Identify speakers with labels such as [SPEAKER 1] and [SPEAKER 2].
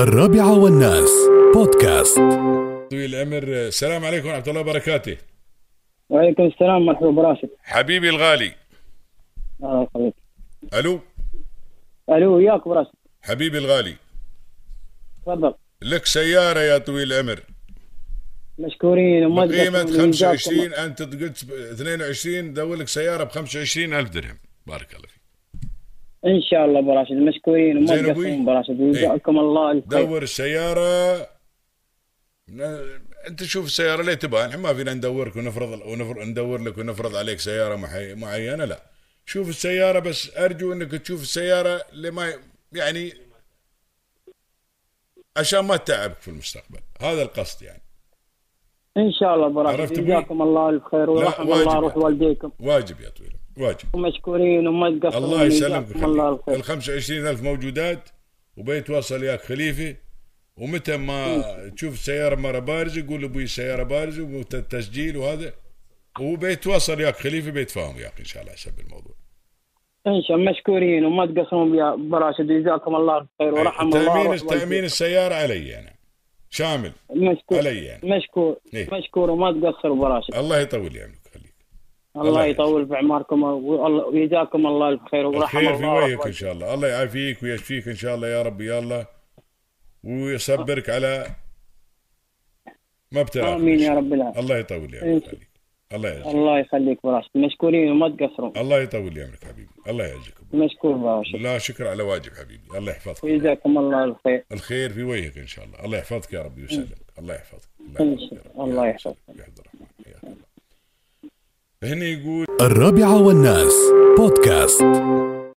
[SPEAKER 1] الرابعة والناس بودكاست
[SPEAKER 2] طويل العمر السلام عليكم ورحمه الله وبركاته
[SPEAKER 3] وعليكم السلام مرحبا براشد
[SPEAKER 2] حبيبي الغالي
[SPEAKER 3] الله يخليك
[SPEAKER 2] الو
[SPEAKER 3] الو وياك براشد
[SPEAKER 2] حبيبي الغالي
[SPEAKER 3] تفضل
[SPEAKER 2] لك سياره يا طويل العمر
[SPEAKER 3] مشكورين وما أقدر
[SPEAKER 2] بقيمه
[SPEAKER 3] أقول من إيجابكم.
[SPEAKER 2] 25 انت قلت ب 22 دور لك سياره ب 25 الف درهم بارك الله فيك
[SPEAKER 3] ان شاء الله براشد مشكورين وما
[SPEAKER 2] زين أبوي. إيه.
[SPEAKER 3] تقصرون براشد ويجزاكم الله الخير
[SPEAKER 2] دور السياره ن- انت شوف السياره ليه تبغى احنا ما فينا ندورك ونفرض ونفر ندور لك ونفرض عليك سياره محي- معينه لا شوف السياره بس ارجو انك تشوف السياره اللي ما ي- يعني عشان ما تتعبك في المستقبل هذا القصد يعني
[SPEAKER 3] ان شاء الله
[SPEAKER 2] عرفت
[SPEAKER 3] براشد
[SPEAKER 2] أبوي؟
[SPEAKER 3] جزاكم الله الخير ويرحم
[SPEAKER 2] واجب.
[SPEAKER 3] الله روح والديكم
[SPEAKER 2] واجب يا طويل واجب
[SPEAKER 3] ومشكورين وما تقصرون
[SPEAKER 2] الله يسلمك
[SPEAKER 3] ويجزاكم الله
[SPEAKER 2] ويخليك
[SPEAKER 3] الخير
[SPEAKER 2] ال 25000 موجودات وبيتواصل ياك خليفه ومتى ما تشوف السياره مره بارزه قول ابوي السياره بارزه والتسجيل وهذا وبيتواصل ياك خليفه بيتفاهم ياك ان شاء الله حسب الموضوع
[SPEAKER 3] ان شاء الله مشكورين وما تقصرون يا براشد وجزاكم الله الخير
[SPEAKER 2] إيه،
[SPEAKER 3] ورحم الله
[SPEAKER 2] تامين
[SPEAKER 3] روح
[SPEAKER 2] تامين
[SPEAKER 3] والديكم
[SPEAKER 2] السياره علي انا شامل
[SPEAKER 3] مشكور
[SPEAKER 2] علي يعني.
[SPEAKER 3] مشكور
[SPEAKER 2] إيه.
[SPEAKER 3] مشكور وما تقصروا براشد
[SPEAKER 2] الله يطول لي عمرك خليك الله
[SPEAKER 3] الله يطول في اعماركم والله- ويجزاكم الله الخير ورحم الله
[SPEAKER 2] الخير في
[SPEAKER 3] روح
[SPEAKER 2] وجهك ان
[SPEAKER 3] والديكم.
[SPEAKER 2] شاء الله الله يعافيك ويشفيك ان شاء الله يا رب يا الله ويصبرك على ما ابتلاك
[SPEAKER 3] امين يا رب العالمين
[SPEAKER 2] الله يطول لي
[SPEAKER 3] إن
[SPEAKER 2] عمرك
[SPEAKER 3] شاء-
[SPEAKER 2] خليك الله يعزك
[SPEAKER 3] الله يخليك براشد مشكورين وما تقصروا
[SPEAKER 2] الله يطول لي عمرك حبيبي الله يعزك
[SPEAKER 3] مشكور براشد
[SPEAKER 2] لا شكر على واجب حبيبي الله يحفظك
[SPEAKER 3] وجزاكم الله الخير
[SPEAKER 2] الخير في وجهك ان شاء الله الله يحفظك يا ربي ويسلمك الله يحفظك
[SPEAKER 3] إن
[SPEAKER 2] يحفظك يا
[SPEAKER 3] شاء
[SPEAKER 2] رب.
[SPEAKER 3] الله
[SPEAKER 2] يا
[SPEAKER 3] يحفظك.
[SPEAKER 2] رب. يا عبد الرحمن يا الله هنا يقول
[SPEAKER 1] الرابعة والناس بودكاست